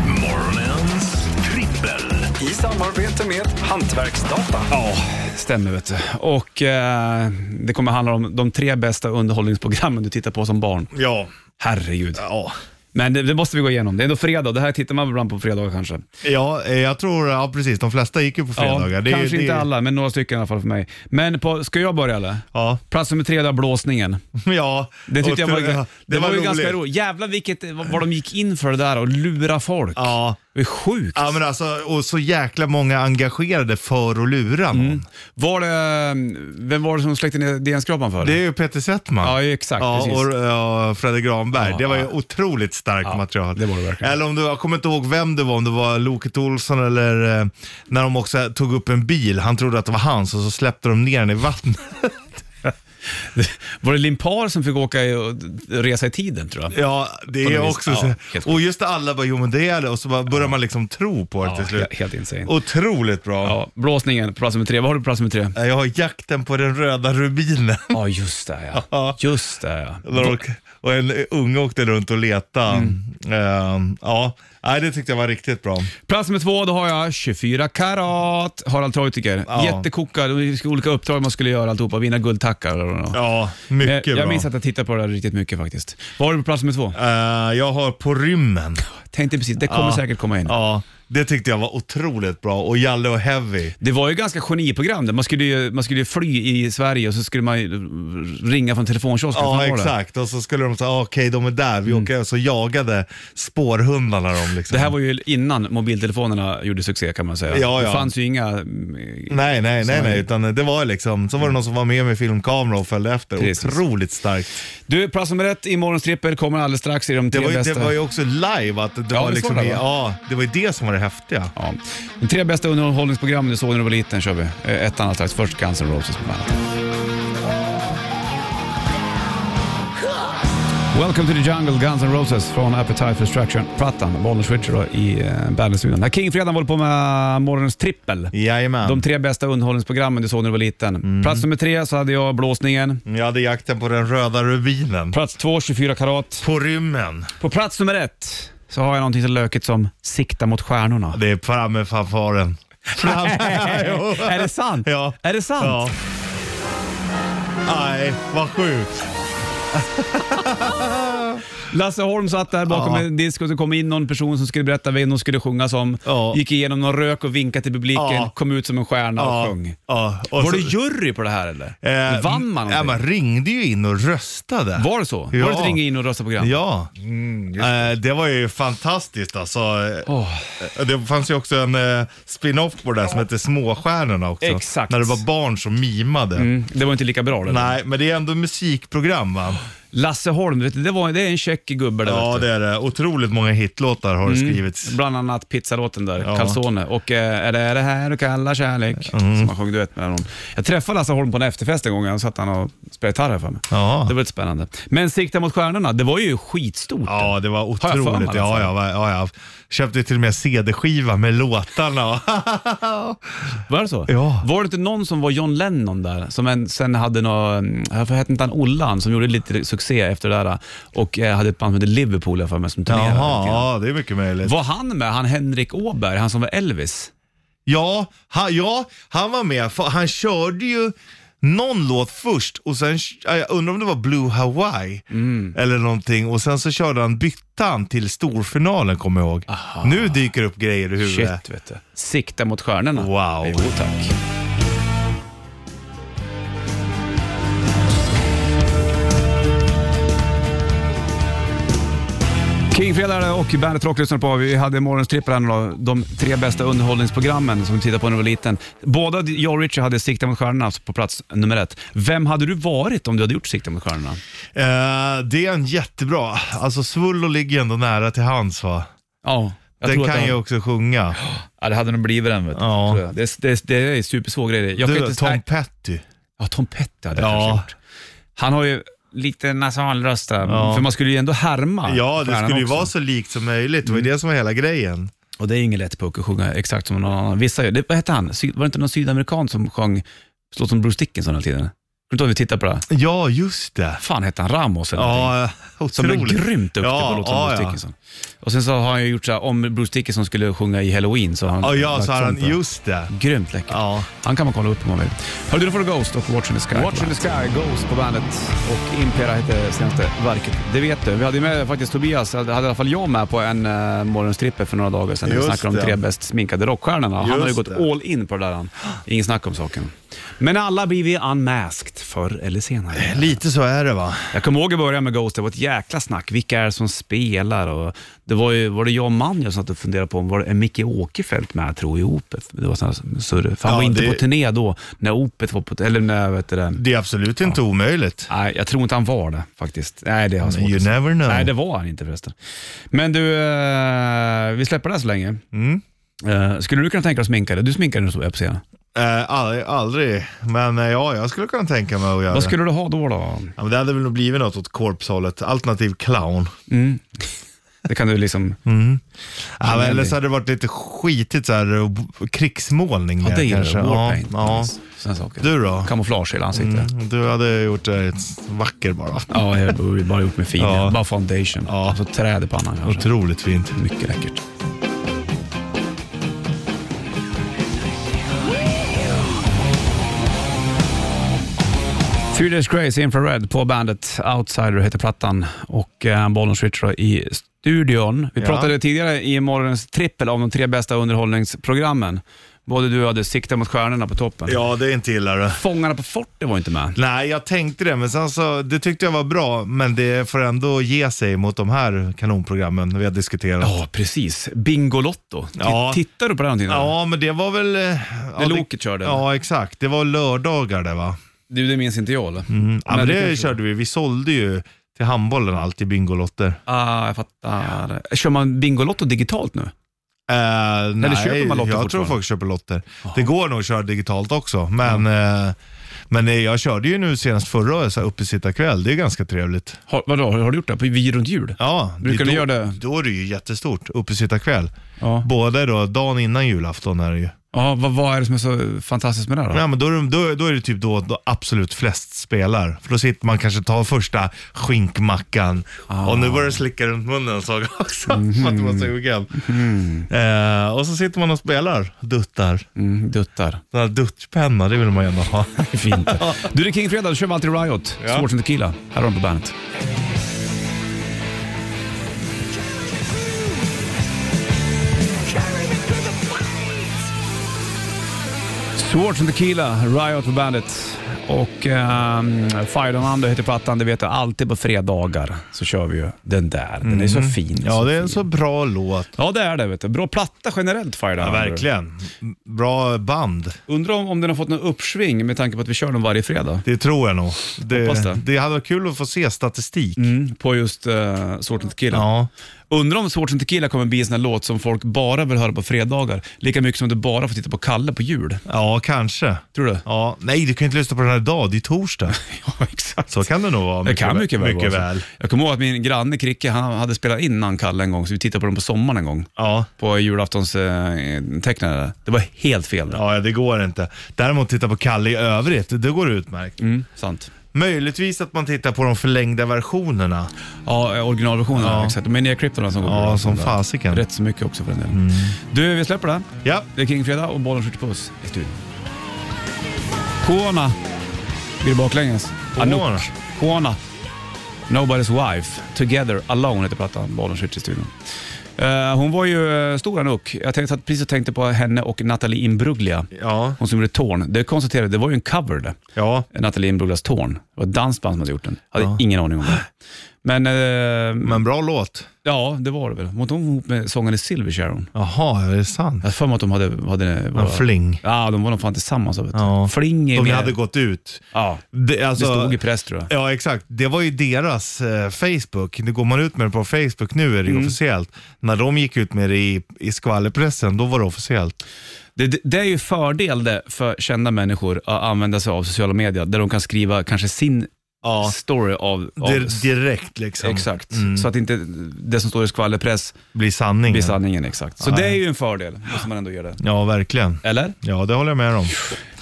Speaker 4: Morgonens trippel.
Speaker 6: I samarbete med Hantverksdata.
Speaker 1: Ja, stämmer vet du. Och eh, det kommer handla om de tre bästa underhållningsprogrammen du tittar på som barn.
Speaker 2: Ja.
Speaker 1: Herregud.
Speaker 2: Ja.
Speaker 1: Men det, det måste vi gå igenom. Det är ändå fredag. Det här tittar man ibland på fredagar kanske.
Speaker 2: Ja, eh, jag tror, ja precis. De flesta gick ju på fredagar.
Speaker 1: Ja,
Speaker 2: Det är-
Speaker 1: kanske
Speaker 2: det är-
Speaker 1: inte alla, men några stycken i alla fall för mig. Men på, ska jag börja eller?
Speaker 2: Ja.
Speaker 1: Plats nummer tre, där blåsningen.
Speaker 2: ja.
Speaker 1: Det tyckte
Speaker 2: Och-
Speaker 1: jag var,
Speaker 2: ja,
Speaker 1: det var, ju
Speaker 2: roligt.
Speaker 1: ganska roligt. Jävlar vilket, vad vad de gick in för det där och lura folk.
Speaker 2: Ja.
Speaker 1: Det är sjukt.
Speaker 2: Ja men alltså, och så jäkla många engagerade för att lura någon.
Speaker 1: Mm. Var det, eh, vem var det som släckte ner DN-skrapan för?
Speaker 2: Det är ju Peter Settman.
Speaker 1: Ja, ju exakt,
Speaker 2: Ja,
Speaker 1: precis.
Speaker 2: och ja, Fredrik Granberg.
Speaker 1: Ja,
Speaker 2: det var ju
Speaker 1: ja.
Speaker 2: otroligt starkt
Speaker 1: Ja,
Speaker 2: material.
Speaker 1: det var det verkligen.
Speaker 2: Eller om du, jag kommer inte ihåg vem det var, om det var Loket Olsson eller eh, när de också tog upp en bil. Han trodde att det var hans och så släppte de ner den i vattnet.
Speaker 1: Var det Limpar som fick åka i- och resa i tiden tror jag?
Speaker 2: Ja, det
Speaker 1: På
Speaker 2: är
Speaker 1: något vis.
Speaker 2: också
Speaker 1: Ja,
Speaker 2: så.
Speaker 1: helt
Speaker 2: Och just det, alla bara, jo men det är det. Och så bara börjar man liksom tro på det
Speaker 1: Ja,
Speaker 2: till slut.
Speaker 1: he- helt insane.
Speaker 2: Otroligt bra.
Speaker 1: Ja, blåsningen på plats nummer tre. Vad har du på plats nummer tre?
Speaker 2: Jag har jakten på den röda rubinen.
Speaker 1: Ja, just det ja.
Speaker 2: Ja.
Speaker 1: Just det ja.
Speaker 2: Där Och, och en unge åkte runt och letade.
Speaker 1: Mm.
Speaker 2: Eh, ja, Nej, det tyckte jag var riktigt bra.
Speaker 1: Plats nummer två, då har jag 24 karat. Harald Treutiger.
Speaker 2: Ja.
Speaker 1: Jättekokad. Det var olika uppdrag man skulle göra alltihopa. Vinna guldtackar och och- och.
Speaker 2: Ja,
Speaker 1: Men
Speaker 2: mycket
Speaker 1: jag,
Speaker 2: bra.
Speaker 1: jag minns att jag tittade på det där riktigt mycket faktiskt. Vad har du på plats nummer två?
Speaker 2: Eh, jag har på rymmen.
Speaker 1: Tänkte precis, det kommer
Speaker 2: Ja.
Speaker 1: säkert komma in.
Speaker 2: Ja, det tyckte jag var otroligt bra. Och Jalle och Heavy.
Speaker 1: Det var ju ganska geniprogram där. Man skulle ju, man skulle ju fly i Sverige och så skulle man ju ringa från telefonkiosken. Fan
Speaker 2: Ja,
Speaker 1: var det? Mm.
Speaker 2: exakt. Och så skulle de säga, ah, okej de är där, vi åker. Så jagade spårhundarna dem. Liksom.
Speaker 1: Det här var ju innan mobiltelefonerna gjorde succé kan man säga.
Speaker 2: Ja, ja.
Speaker 1: Det fanns ju inga...
Speaker 2: Nej, nej, nej,
Speaker 1: Som-
Speaker 2: nej, utan det var liksom, så var det någon som var med med filmkamera och följde efter.
Speaker 1: Mm. Precis.
Speaker 2: Otroligt starkt.
Speaker 1: Du, plats nummer ett i morgons trippel kommer alldeles strax i de
Speaker 2: Det
Speaker 1: tre
Speaker 2: var, ju,
Speaker 1: bästa.
Speaker 2: det var ju också live, att det
Speaker 1: Ja,
Speaker 2: var
Speaker 1: det
Speaker 2: liksom,
Speaker 1: var det,
Speaker 2: i-
Speaker 1: va?
Speaker 2: ja, det var ju det som var det häftiga.
Speaker 1: Ja. De tre bästa underhållningsprogrammen du såg när du var liten kör vi. Eh, Ett annat strax. Först Guns N' Roses på bandet. Welcome to the jungle, Guns N' Roses från Appetite for Destruction-plattan. Bollnäs Switcher då i eh, Bandit-studion. Här Kingfredagen håller på med morgonens trippel.
Speaker 2: Jajamän.
Speaker 1: De tre bästa underhållningsprogrammen du såg när du var liten.
Speaker 2: Mm.
Speaker 1: Plats nummer tre så hade jag blåsningen.
Speaker 2: Jag hade jakten på den röda rubinen.
Speaker 1: Plats två, 24 karat.
Speaker 2: På rymmen.
Speaker 1: På plats nummer ett så har jag någonting så löket som sikta mot stjärnorna.
Speaker 2: Det är framme fanfaren. Framme, jo.
Speaker 1: är det sant?
Speaker 2: Ja.
Speaker 1: Är det sant?
Speaker 2: Ja. Nej, vad sjukt.
Speaker 1: Lasse Holm satt där bakom
Speaker 2: Ja.
Speaker 1: en disk och så kom in någon person som skulle berätta vem de skulle sjunga som.
Speaker 2: Ja.
Speaker 1: Gick igenom någon rök och vinkade till publiken,
Speaker 2: Ja.
Speaker 1: kom ut som en stjärna och
Speaker 2: Ja,
Speaker 1: sjöng.
Speaker 2: ja. Och
Speaker 1: Var
Speaker 2: så-
Speaker 1: du jury på det här eller?
Speaker 2: Eh,
Speaker 1: Vann man
Speaker 2: ja,
Speaker 1: någonting?
Speaker 2: Man ringde ju in och röstade.
Speaker 1: Var det så?
Speaker 2: Ja.
Speaker 1: Var det ett ringa in och rösta program?
Speaker 2: Ja. det. Eh, det var ju fantastiskt alltså. Eh,
Speaker 1: Åh.
Speaker 2: eh, Det fanns ju också en eh, spin-off på det där som hette Småstjärnorna också.
Speaker 1: Exakt.
Speaker 2: När det var barn som mimade.
Speaker 1: Mm, det var inte lika bra det.
Speaker 2: Nej, men det är ändå musikprogram va?
Speaker 1: Lasse Holm, vet du, det, var, det Mm. är en käck gubbe där
Speaker 2: Ja,
Speaker 1: vet du.
Speaker 2: det är det. Otroligt många hitlåtar har det skrivits.
Speaker 1: Bland annat pizzalåten där, Calzone. Och eh, är det det här du kallar kärlek?
Speaker 2: Mm.
Speaker 1: Som han sjöng duett med någon. Jag träffade Lasse Holm på en efterfest en gång, han satt han och spelade gitarr här för mig.
Speaker 2: Ja.
Speaker 1: Det var lite spännande. Men Sikta mot stjärnorna, det var ju skitstort.
Speaker 2: Ja, det var
Speaker 1: för mig,
Speaker 2: otroligt. Ja,
Speaker 1: alltså.
Speaker 2: ja, va- ja, ja. Köpte till och med CD-skiva med låtarna.
Speaker 1: Var det så?
Speaker 2: Ja.
Speaker 1: Var det inte någon som var John Lennon där, som en, sen hade någon, varför hette inte han Ollan, som gjorde lite succé efter det där och eh, hade ett band med Liverpool jag för mig som turnerade.
Speaker 2: Jaha,
Speaker 1: lite grann.
Speaker 2: ja, det är mycket möjligt.
Speaker 1: Var han med, han Henrik Åberg, han som var Elvis?
Speaker 2: Ja, ha, ja, han var med. Fa- Han körde ju någon låt först och sen, ja, jag undrar om det var Blue Hawaii
Speaker 1: Mm.
Speaker 2: eller någonting och sen så körde han byttan till storfinalen kommer jag ihåg. Nu dyker upp grejer i huvudet.
Speaker 1: Shit vet du. Sikta mot stjärnorna.
Speaker 2: Wow.
Speaker 1: Jo tack. Kingfredag är det och Bandet Rock lyssnar på. Vi hade morgonstrippen här nu då. De tre bästa underhållningsprogrammen som vi tittade på när du var liten. Båda jag och Richard hade Sikta mot stjärnorna alltså på plats nummer ett. Vem hade du varit om du hade gjort Sikta mot stjärnorna?
Speaker 2: Eh, det är en jättebra, alltså Svullo ligger ändå nära till hands va?
Speaker 1: Ja, jag
Speaker 2: Den
Speaker 1: tror att
Speaker 2: kan
Speaker 1: jag...
Speaker 2: ju också sjunga.
Speaker 1: Ja, det hade nog blivit den vet du.
Speaker 2: Ja.
Speaker 1: Tror jag. Det, det, det är supersvår grej det. Jag kan
Speaker 2: Du,
Speaker 1: inte-
Speaker 2: Tom
Speaker 1: nej.
Speaker 2: Petty.
Speaker 1: Ja, Tom Petty hade jag
Speaker 2: Ja.
Speaker 1: kanske gjort. Han har ju lite nasal röst där,
Speaker 2: Ja.
Speaker 1: för man skulle ju ändå härma
Speaker 2: Ja, det
Speaker 1: stjärnan
Speaker 2: skulle ju
Speaker 1: också. Mm.
Speaker 2: vara så likt som möjligt. Det var ju det som var hela grejen.
Speaker 1: Och det är ju ingen lätt puck att sjunga exakt som någon annan. Vissa gör det. Vad hette han? Sy- Var det inte någon sydamerikan som sjöng låt som Bruce Dickinson hela tiden? Kommer du inte ihåg vi tittade på det? här?
Speaker 2: Ja, just det.
Speaker 1: fan hette han? Ramos eller någonting?
Speaker 2: Ja,
Speaker 1: Som är
Speaker 2: otroligt.
Speaker 1: grymt duktig
Speaker 2: Ja,
Speaker 1: på låtar som
Speaker 2: ja,
Speaker 1: Bruce
Speaker 2: ja.
Speaker 1: Dickinson. Och sen så har han ju gjort så här, om Bruce Dickinson skulle sjunga i Halloween så har han
Speaker 2: Ja, ja,
Speaker 1: lagt
Speaker 2: så har han,
Speaker 1: sånt där.
Speaker 2: just det.
Speaker 1: Grymt läckert.
Speaker 2: Ja.
Speaker 1: Han kan man kolla upp om man vill. Hör du, då får du Ghost och Watch in the Sky. Watch in the Sky, Ghost på bandet och Impera hette senaste verket. Det vet du. Vi hade ju med faktiskt Tobias, hade i alla fall jag med på en uh, morgonstrippe för några dagar sedan. Vi
Speaker 2: Just
Speaker 1: snackade om
Speaker 2: det.
Speaker 1: tre bäst sminkade rockstjärnorna. Han har ju
Speaker 2: Just
Speaker 1: gått
Speaker 2: det.
Speaker 1: all in på det där. Han. Ingen snack om saken. Men alla blir vi unmasked förr eller senare.
Speaker 2: Lite så är det va?
Speaker 1: Jag kommer ihåg i början med Ghost, det var ett jäkla snack. Vilka är det som spelar? Och det var, ju, var det jag och Manjo som satt och funderade på om var det är Micke Åkerfeldt med tror jag, i Opet. Det var sån här surr. För han
Speaker 2: Ja,
Speaker 1: var inte
Speaker 2: det-
Speaker 1: på turné då, när Opet var på... Eller när, vet du det.
Speaker 2: Det är absolut inte omöjligt.
Speaker 1: Nej, jag tror inte han var det faktiskt. Nej, det har jag svårt
Speaker 2: You
Speaker 1: att säga.
Speaker 2: never know.
Speaker 1: Nej, det var han inte förresten. Men du, eh, vi släpper det här så länge.
Speaker 2: Mm.
Speaker 1: Eh, skulle du kunna tänka dig att sminka dig? Du sminkade dig när du stod på scenen.
Speaker 2: Eh, aldrig, aldrig, men eh, ja, jag skulle kunna tänka mig att göra
Speaker 1: Vad skulle du ha då? då?
Speaker 2: ja, men Det hade väl nog blivit något åt korpshållet, alternativ clown.
Speaker 1: Det kan du liksom...
Speaker 2: Mm. Ja, men,
Speaker 1: men
Speaker 2: eller
Speaker 1: det-
Speaker 2: så hade det varit lite skitigt så här, och b- krigsmålning.
Speaker 1: Ja,
Speaker 2: där
Speaker 1: det gillar
Speaker 2: kanske.
Speaker 1: du. Warpaint.
Speaker 2: Ja,
Speaker 1: Såna saker.
Speaker 2: Du då? Mm.
Speaker 1: Kamouflage i hela ansiktet.
Speaker 2: ja. Du hade gjort dig ett- vacker bara.
Speaker 1: Ja, jag har bara gjort mig fin.
Speaker 2: Ja.
Speaker 1: Bara foundation.
Speaker 2: Ja.
Speaker 1: Och så träd i pannan kanske.
Speaker 2: Otroligt fint.
Speaker 1: Mycket läckert. Three Days Grace, Infrared på bandet. Outsider heter plattan och eh, Bollen Switcher i studion. Vi
Speaker 2: Ja.
Speaker 1: pratade tidigare i morgonens trippel om de tre bästa underhållningsprogrammen. Både du och jag hade sikta mot stjärnorna på toppen.
Speaker 2: Ja, det är inte illa det.
Speaker 1: Fångarna på fortet var inte med.
Speaker 2: Nej, jag tänkte det, men sen så, det tyckte jag var bra, men det får ändå ge sig mot de här kanonprogrammen vi har diskuterat.
Speaker 1: Ja, precis. Bingolotto. T-
Speaker 2: Ja.
Speaker 1: Tittar du på det någonting? eller?
Speaker 2: Ja, men det var väl... eh, Ja,
Speaker 1: När Loket körde?
Speaker 2: Ja, exakt. Det var lördagar det va?
Speaker 1: Du, det minns inte jag eller?
Speaker 2: Ja, men
Speaker 1: det
Speaker 2: det
Speaker 1: kanske-
Speaker 2: körde vi. Vi sålde ju till handbollen alltid Bingolotter.
Speaker 1: Ah, jag fattar. Kör man Bingolotto digitalt nu?
Speaker 2: Eh, nej,
Speaker 1: köper man lotter
Speaker 2: jag tror
Speaker 1: fortfarande?
Speaker 2: folk köper lotter. Det går nog att köra digitalt också, men, eh, men eh, jag körde ju nu senast förra året, så här uppesittarkväll. Det är ganska trevligt.
Speaker 1: Har, vadå, har, har du gjort det? På Vi runt jul?
Speaker 2: Ja,
Speaker 1: Brukar
Speaker 2: det,
Speaker 1: ni
Speaker 2: då,
Speaker 1: göra det?
Speaker 2: Då är det ju jättestort, uppesittarkväll.
Speaker 1: Ja.
Speaker 2: Både då, dagen innan julafton är det ju.
Speaker 1: Ja, vad, vad är det som är så fantastiskt med det här då?
Speaker 2: Ja, men då, är det- då, då är det typ då, då absolut flest spelar. För då sitter man kanske tar första skinkmackan och
Speaker 1: Ah.
Speaker 2: nu börjar det slicka runt munnen såg jag också. För att man var
Speaker 1: Mhm.
Speaker 2: sugen. Eh, och så sitter man och spelar, duttar.
Speaker 1: Mm, duttar.
Speaker 2: Den här duttpenna, det vill man ju ändå ha.
Speaker 1: Fint. Du, det är King Fredag. Då kör vi alltid Riot. Svårt som tequila. Här har de på bandet. Swords and Tequila, Riot på bandet. Och um, Fire Donando heter plattan, det vet jag. Alltid på fredagar så kör vi ju den där. Den är så fin.
Speaker 2: Mm. Ja,
Speaker 1: så
Speaker 2: det är
Speaker 1: fin.
Speaker 2: en så bra låt.
Speaker 1: ja, det är det. Vet du. Bra platta generellt, Fire
Speaker 2: Ja,
Speaker 1: Donando.
Speaker 2: verkligen. Bra band.
Speaker 1: Undrar om, om den har fått något uppsving med tanke på att vi kör den varje fredag.
Speaker 2: Det tror jag nog.
Speaker 1: Hoppas
Speaker 2: Det,
Speaker 1: det.
Speaker 2: det. hade varit kul att få se statistik.
Speaker 1: Mm, på just uh, Swords and Tequila.
Speaker 2: Ja.
Speaker 1: Undrar om Swords and Tequila kommer bli en sån här låt som folk bara vill höra på fredagar. Lika mycket som du bara får titta på Kalle på jul.
Speaker 2: ja, kanske.
Speaker 1: Tror du?
Speaker 2: Ja. Nej, du kan ju inte lyssna på den här idag. Det är torsdag.
Speaker 1: Ja, exakt.
Speaker 2: Så kan det nog vara.
Speaker 1: Det kan mycket väl
Speaker 2: mycket
Speaker 1: vara så.
Speaker 2: väl.
Speaker 1: Jag kommer ihåg att min granne Kricke, han hade spelat in han Kalle en gång, så vi tittade på dem på sommaren en gång.
Speaker 2: Ja.
Speaker 1: På julaftonstecknare. Eh, det var helt fel. Ja.
Speaker 2: ja, det går inte. Däremot titta på Kalle i övrigt. Det går utmärkt.
Speaker 1: Mm, sant.
Speaker 2: Möjligtvis att man tittar på de förlängda versionerna.
Speaker 1: Ja, eh, originalversionen.
Speaker 2: Ja.
Speaker 1: Exakt. De är nedklippta som går på
Speaker 2: Ja,
Speaker 1: den
Speaker 2: som
Speaker 1: där.
Speaker 2: fasiken. Mm.
Speaker 1: Rätt så mycket också för den delen. Du, vi släpper det.
Speaker 2: Ja.
Speaker 1: Det är Kingfredag och bollen skjuter puss i studion. Kona. Blir det baklänges?
Speaker 2: Kona.
Speaker 1: Anouk. Kona. Nobody's Wife. Together Alone heter plattan. Bollen skjuter i studion. Eh, hon var ju eh, stor Anouk. Jag tänkte, satt precis och tänkte på henne och Nathalie Imbruglia.
Speaker 2: Ja.
Speaker 1: Hon som gjorde Torn. Det konstaterade det var ju en cover det.
Speaker 2: Ja.
Speaker 1: Nathalie Imbruglias Torn. Det var ett dansband som hade gjort den. Hade ingen aning om det. Men, eh,
Speaker 2: Men bra låt.
Speaker 1: ja, det var det väl. Var inte hon ihop med sångaren i Silverchair?
Speaker 2: Jaha, är det sant?
Speaker 1: Jag har för mig att de hade... hade var,
Speaker 2: En fling.
Speaker 1: Ja, de var nog fan tillsammans. Vet du.
Speaker 2: Ja.
Speaker 1: Fling är
Speaker 2: De
Speaker 1: mer-
Speaker 2: hade gått ut.
Speaker 1: Ja,
Speaker 2: Det,
Speaker 1: det
Speaker 2: alltså,
Speaker 1: stod i press tror jag.
Speaker 2: Ja, exakt. Det var ju deras eh, Facebook. Nu går man ut med det på Facebook, nu är det ju
Speaker 1: Mm.
Speaker 2: officiellt. När de gick ut med det i, i skvallerpressen, då var det officiellt.
Speaker 1: Det, det, det är ju fördel det för kända människor att använda sig av sociala medier, där de kan skriva kanske sin
Speaker 2: Ja,
Speaker 1: story av... av
Speaker 2: Dir- direkt liksom.
Speaker 1: Exakt, så att inte det som står i skvallerpress
Speaker 2: Blir sanningen.
Speaker 1: blir sanningen exakt. Så det är ju en fördel, måste man ändå göra det.
Speaker 2: Ja, verkligen.
Speaker 1: Eller?
Speaker 2: Ja, det håller jag med om.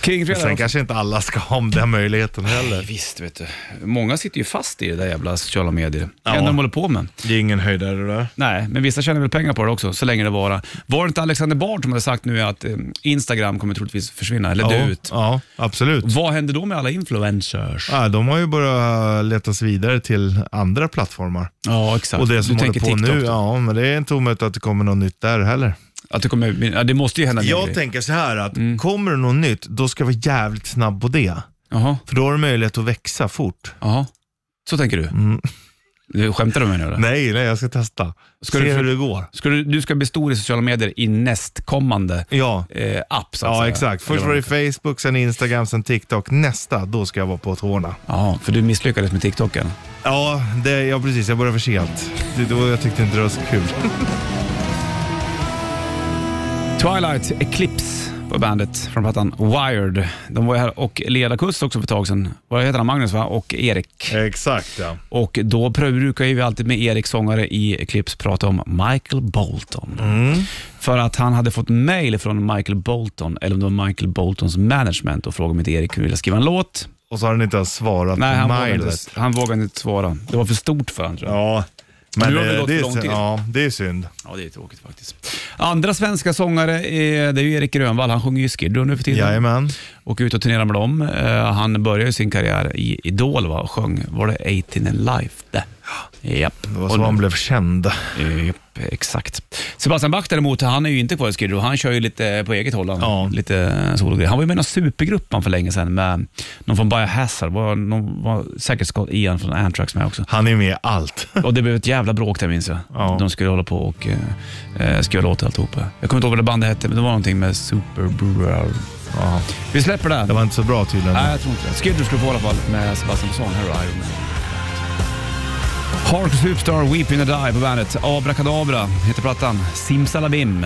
Speaker 1: Kingfredag
Speaker 2: Sen
Speaker 1: också.
Speaker 2: kanske inte alla ska ha den möjligheten
Speaker 1: Nej,
Speaker 2: heller.
Speaker 1: Visst, vet du. Många sitter ju fast i det där jävla sociala medier. Det enda de håller på med.
Speaker 2: Det är ingen höjdare det där.
Speaker 1: Nej, men vissa tjänar väl pengar på det också, så länge det varar. Var det inte Alexander Bard som hade sagt nu att eh, Instagram kommer troligtvis försvinna, eller dö
Speaker 2: Ja,
Speaker 1: ut?
Speaker 2: ja, absolut.
Speaker 1: Vad händer då med alla influencers?
Speaker 2: Ja, de har ju börjat letas vidare till andra plattformar.
Speaker 1: Ja, exakt.
Speaker 2: Och det som
Speaker 1: du
Speaker 2: håller
Speaker 1: tänker
Speaker 2: på
Speaker 1: TikTok
Speaker 2: nu,
Speaker 1: då?
Speaker 2: ja, men det är inte omöjligt att det kommer något nytt där heller.
Speaker 1: Att det, kommer, ja, det Mm. måste ju hända mer
Speaker 2: Jag
Speaker 1: grejer.
Speaker 2: tänker så här att kommer det något nytt, då ska vi vara jävligt snabb på det.
Speaker 1: Jaha,
Speaker 2: För då har du möjlighet att växa fort.
Speaker 1: jaha. Så tänker du? du skämtar du med mig nu eller?
Speaker 2: Mm. Nej, nej, jag ska testa.
Speaker 1: Ska
Speaker 2: Se
Speaker 1: du-
Speaker 2: hur det går.
Speaker 1: Ska du, du ska bli stor i sociala medier i nästkommande
Speaker 2: Ja,
Speaker 1: eh, app så att
Speaker 2: ja
Speaker 1: säga.
Speaker 2: exakt.
Speaker 1: Eller
Speaker 2: Först
Speaker 1: vad
Speaker 2: var det
Speaker 1: det heter.
Speaker 2: Facebook, sen Instagram, sen TikTok. Nästa, då ska jag vara på tårna.
Speaker 1: Ja, för du misslyckades med TikToken.
Speaker 2: Ja, det, ja precis. Jag började för sent. Det, det var, jag tyckte inte det var så kul.
Speaker 1: Twilight Eclipse på bandet från plattan Wired. De var ju här och ledarkust också för ett tag sedan. Vad heter han? Magnus va? Och Erik.
Speaker 2: exakt, ja.
Speaker 1: Och då pröv- brukar ju vi alltid med Erik sångare i Eclipse prata om Michael Bolton. För att han hade fått mail från Michael Bolton, eller om det var Michael Boltons management och frågade om inte Erik ville skriva en låt.
Speaker 2: Och så har den inte ens svarat
Speaker 1: Nej, han
Speaker 2: på
Speaker 1: vågade, inte,
Speaker 2: mejlet.
Speaker 1: han vågade inte svara. Det var för stort för honom tror jag.
Speaker 2: Ja,
Speaker 1: Nu
Speaker 2: men
Speaker 1: har det
Speaker 2: det,
Speaker 1: gått
Speaker 2: det,
Speaker 1: för lång
Speaker 2: är,
Speaker 1: tid.
Speaker 2: ja, det är synd.
Speaker 1: Ja, det är tråkigt faktiskt. Andra svenska sångare, är, det är ju Erik Grönvall. Han sjunger ju Skid Row nu för tiden.
Speaker 2: Jajamän.
Speaker 1: och ut och turnerar med dem. Eh, han började ju sin karriär i Idol va? och sjöng, var det 18 and Life? Det. Japp.
Speaker 2: Det var
Speaker 1: Och
Speaker 2: så
Speaker 1: nu-
Speaker 2: han blev känd.
Speaker 1: Eh, Japp, exakt. Sebastian Bach däremot, han är ju inte kvar i Skid Row. Han kör ju lite på eget håll. Han,
Speaker 2: Ja.
Speaker 1: lite eh, sologrejer. Han var ju med i någon supergrupp han för länge sedan med någon från Biohazard. Var, någon var säkert Scott Ian från Anthrax med också.
Speaker 2: Han är med i allt.
Speaker 1: Och det blev ett jävla bråk där minns jag.
Speaker 2: Ja.
Speaker 1: De skulle hålla på och eh, eh, skriva låtar alltihopa. Jag kommer inte ihåg vad det bandet hette, men det var någonting med Super Brewer.
Speaker 2: Ja,
Speaker 1: Vi släpper det.
Speaker 2: det var inte så bra tydligen.
Speaker 1: Nej, jag tror inte det. Skid Row skulle få i alla fall med Sebastian Persson. Här är Iron Man. Hark Superstar, Weep In A Die på bandet. Abrakadabra heter plattan. Simsalabim.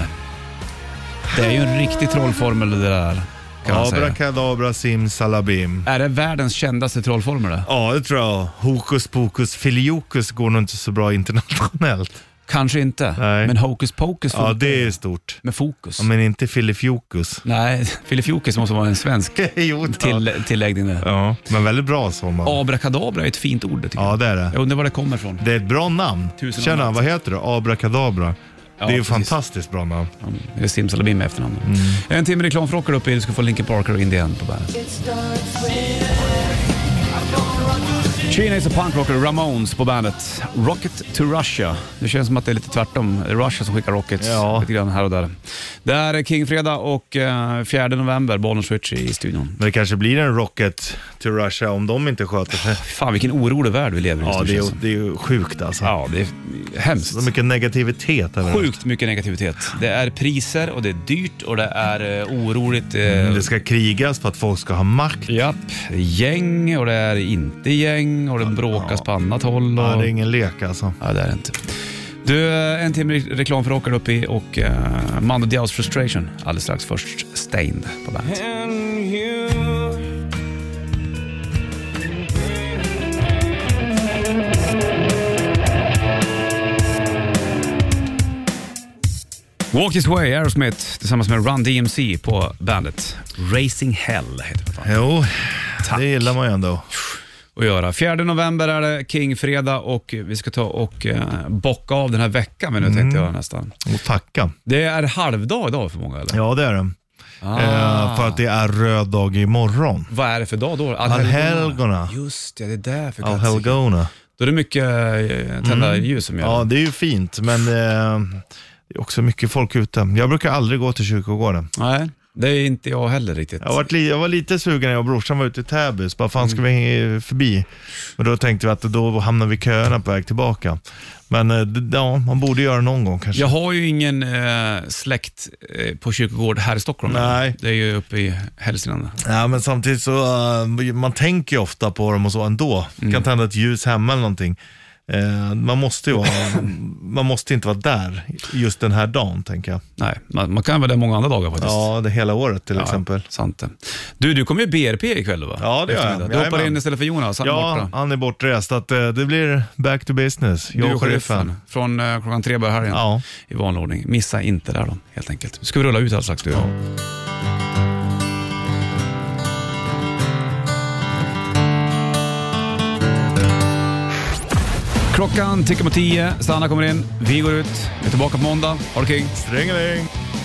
Speaker 1: Det är ju en riktig trollformel det där, kan man säga.
Speaker 2: Abrakadabra simsalabim.
Speaker 1: Är det världens kändaste trollformel det?
Speaker 2: Ja, det tror jag. Hokus pokus filiokus går nog inte så bra internationellt.
Speaker 1: Kanske inte,
Speaker 2: Nej.
Speaker 1: men Hocus Pocus
Speaker 2: Ja,
Speaker 1: funkar
Speaker 2: det är stort.
Speaker 1: med fokus.
Speaker 2: Ja, men inte filifjokus.
Speaker 1: Nej, Filifjokis måste vara en svensk
Speaker 2: jo,
Speaker 1: till, tilläggning där.
Speaker 2: Ja, men väldigt bra sommar.
Speaker 1: Abrakadabra är ett fint ord det tycker
Speaker 2: Ja,
Speaker 1: jag.
Speaker 2: det är det.
Speaker 1: Jag undrar var det kommer ifrån.
Speaker 2: Det är ett bra namn.
Speaker 1: Tusen och
Speaker 2: Tjena,
Speaker 1: natt.
Speaker 2: vad heter du? Abrakadabra.
Speaker 1: Ja,
Speaker 2: det är ju
Speaker 1: precis.
Speaker 2: fantastiskt bra namn.
Speaker 1: Det är simsalabim i efternamn.
Speaker 2: Mm.
Speaker 1: En timme reklam för rockar uppe i. Du ska få Linkin Parker och Indian på bandet. Sheena is a punkrocker, Ramones på bandet. Rocket to Russia. Det känns som att det är lite tvärtom. Det är Russia som skickar rockets
Speaker 2: Ja.
Speaker 1: lite grann här och där. Det här är Kingfredag och eh, 4 november, Bollnäs Switch i studion.
Speaker 2: Men det kanske blir en rocket till Russia om de inte sköter sig.
Speaker 1: Fan vilken orolig värld vi lever i just
Speaker 2: Ja,
Speaker 1: nu,
Speaker 2: det
Speaker 1: känns
Speaker 2: är,
Speaker 1: som.
Speaker 2: det är ju sjukt alltså.
Speaker 1: ja, det är hemskt.
Speaker 2: Så mycket negativitet överallt.
Speaker 1: Sjukt mycket negativitet. Det är priser och det är dyrt och det är eh, oroligt. eh,
Speaker 2: Det ska krigas för att folk ska ha makt.
Speaker 1: Japp, gäng och det är inte gäng och det bråkas på annat håll. Och...
Speaker 2: Ja, det är ingen lek alltså.
Speaker 1: Ja, det är det inte. Du, eh, en timme re- reklam för Åker upp i och eh, Mando Diaos Frustration alldeles strax. Först Stained på bandet. Walk This Way, Aerosmith tillsammans med Run DMC på bandet. Racing Hell heter det.
Speaker 2: Jo, det gillar man ju ändå.
Speaker 1: att göra. 4 november är det Kingfredag och vi ska ta och eh, bocka av den här veckan men nu
Speaker 2: Mm.
Speaker 1: tänkte jag nästan.
Speaker 2: Och tacka.
Speaker 1: Det är halvdag idag för många eller?
Speaker 2: Ja, det är det. Eh, för att det är röd dag imorgon.
Speaker 1: Vad är det för dag då?
Speaker 2: Allhelgona.
Speaker 1: Just det, det är där för katten.
Speaker 2: Allhelgona. Mm.
Speaker 1: Då är det mycket eh, tända ljus som gör
Speaker 2: Ja,
Speaker 1: det.
Speaker 2: det är ju fint, men eh, det är också mycket folk ute. Jag brukar aldrig gå till kyrkogården.
Speaker 1: Nej, det är inte jag heller riktigt.
Speaker 2: Jag var, li- jag var lite sugen när jag och brorsan var ute i Täby, så bara fan ska vi hänga förbi? Men då tänkte vi att då hamnar vi i köerna på väg tillbaka. Men eh, det- ja, man borde göra det någon gång kanske.
Speaker 1: Jag har ju ingen eh, släkt eh, på kyrkogård här i Stockholm.
Speaker 2: Nej.
Speaker 1: Det är ju uppe i Hälsingland.
Speaker 2: Ja, men samtidigt så, eh, man tänker ju ofta på dem och så ändå.
Speaker 1: Mm.
Speaker 2: Kan tända ett ljus hemma eller någonting. Eh, man måste ju vara, man måste inte vara där just den här dagen, tänker jag.
Speaker 1: Nej, man, man kan vara där många andra dagar faktiskt.
Speaker 2: Ja, det hela året till exempel.
Speaker 1: Ja, sant det. Du, du kommer ju BRP ikväll va?
Speaker 2: Ja, det gör jag.
Speaker 1: Eftermiddag. Du hoppar
Speaker 2: Jajamän.
Speaker 1: in istället för Jonas, han är
Speaker 2: Ja,
Speaker 1: borta.
Speaker 2: han är bortrest, så att, eh, det blir back to business.
Speaker 1: Du
Speaker 2: Jag och sheriffen.
Speaker 1: Från eh, klockan tre börjar helgen.
Speaker 2: Ja.
Speaker 1: I vanlig ordning. Missa inte där då, helt enkelt. Ska vi rulla ut all slags du? Klockan tickar mot tio, Sanna kommer in, vi går ut, vi är tillbaka på måndag. Ha det king!
Speaker 2: Strängeling!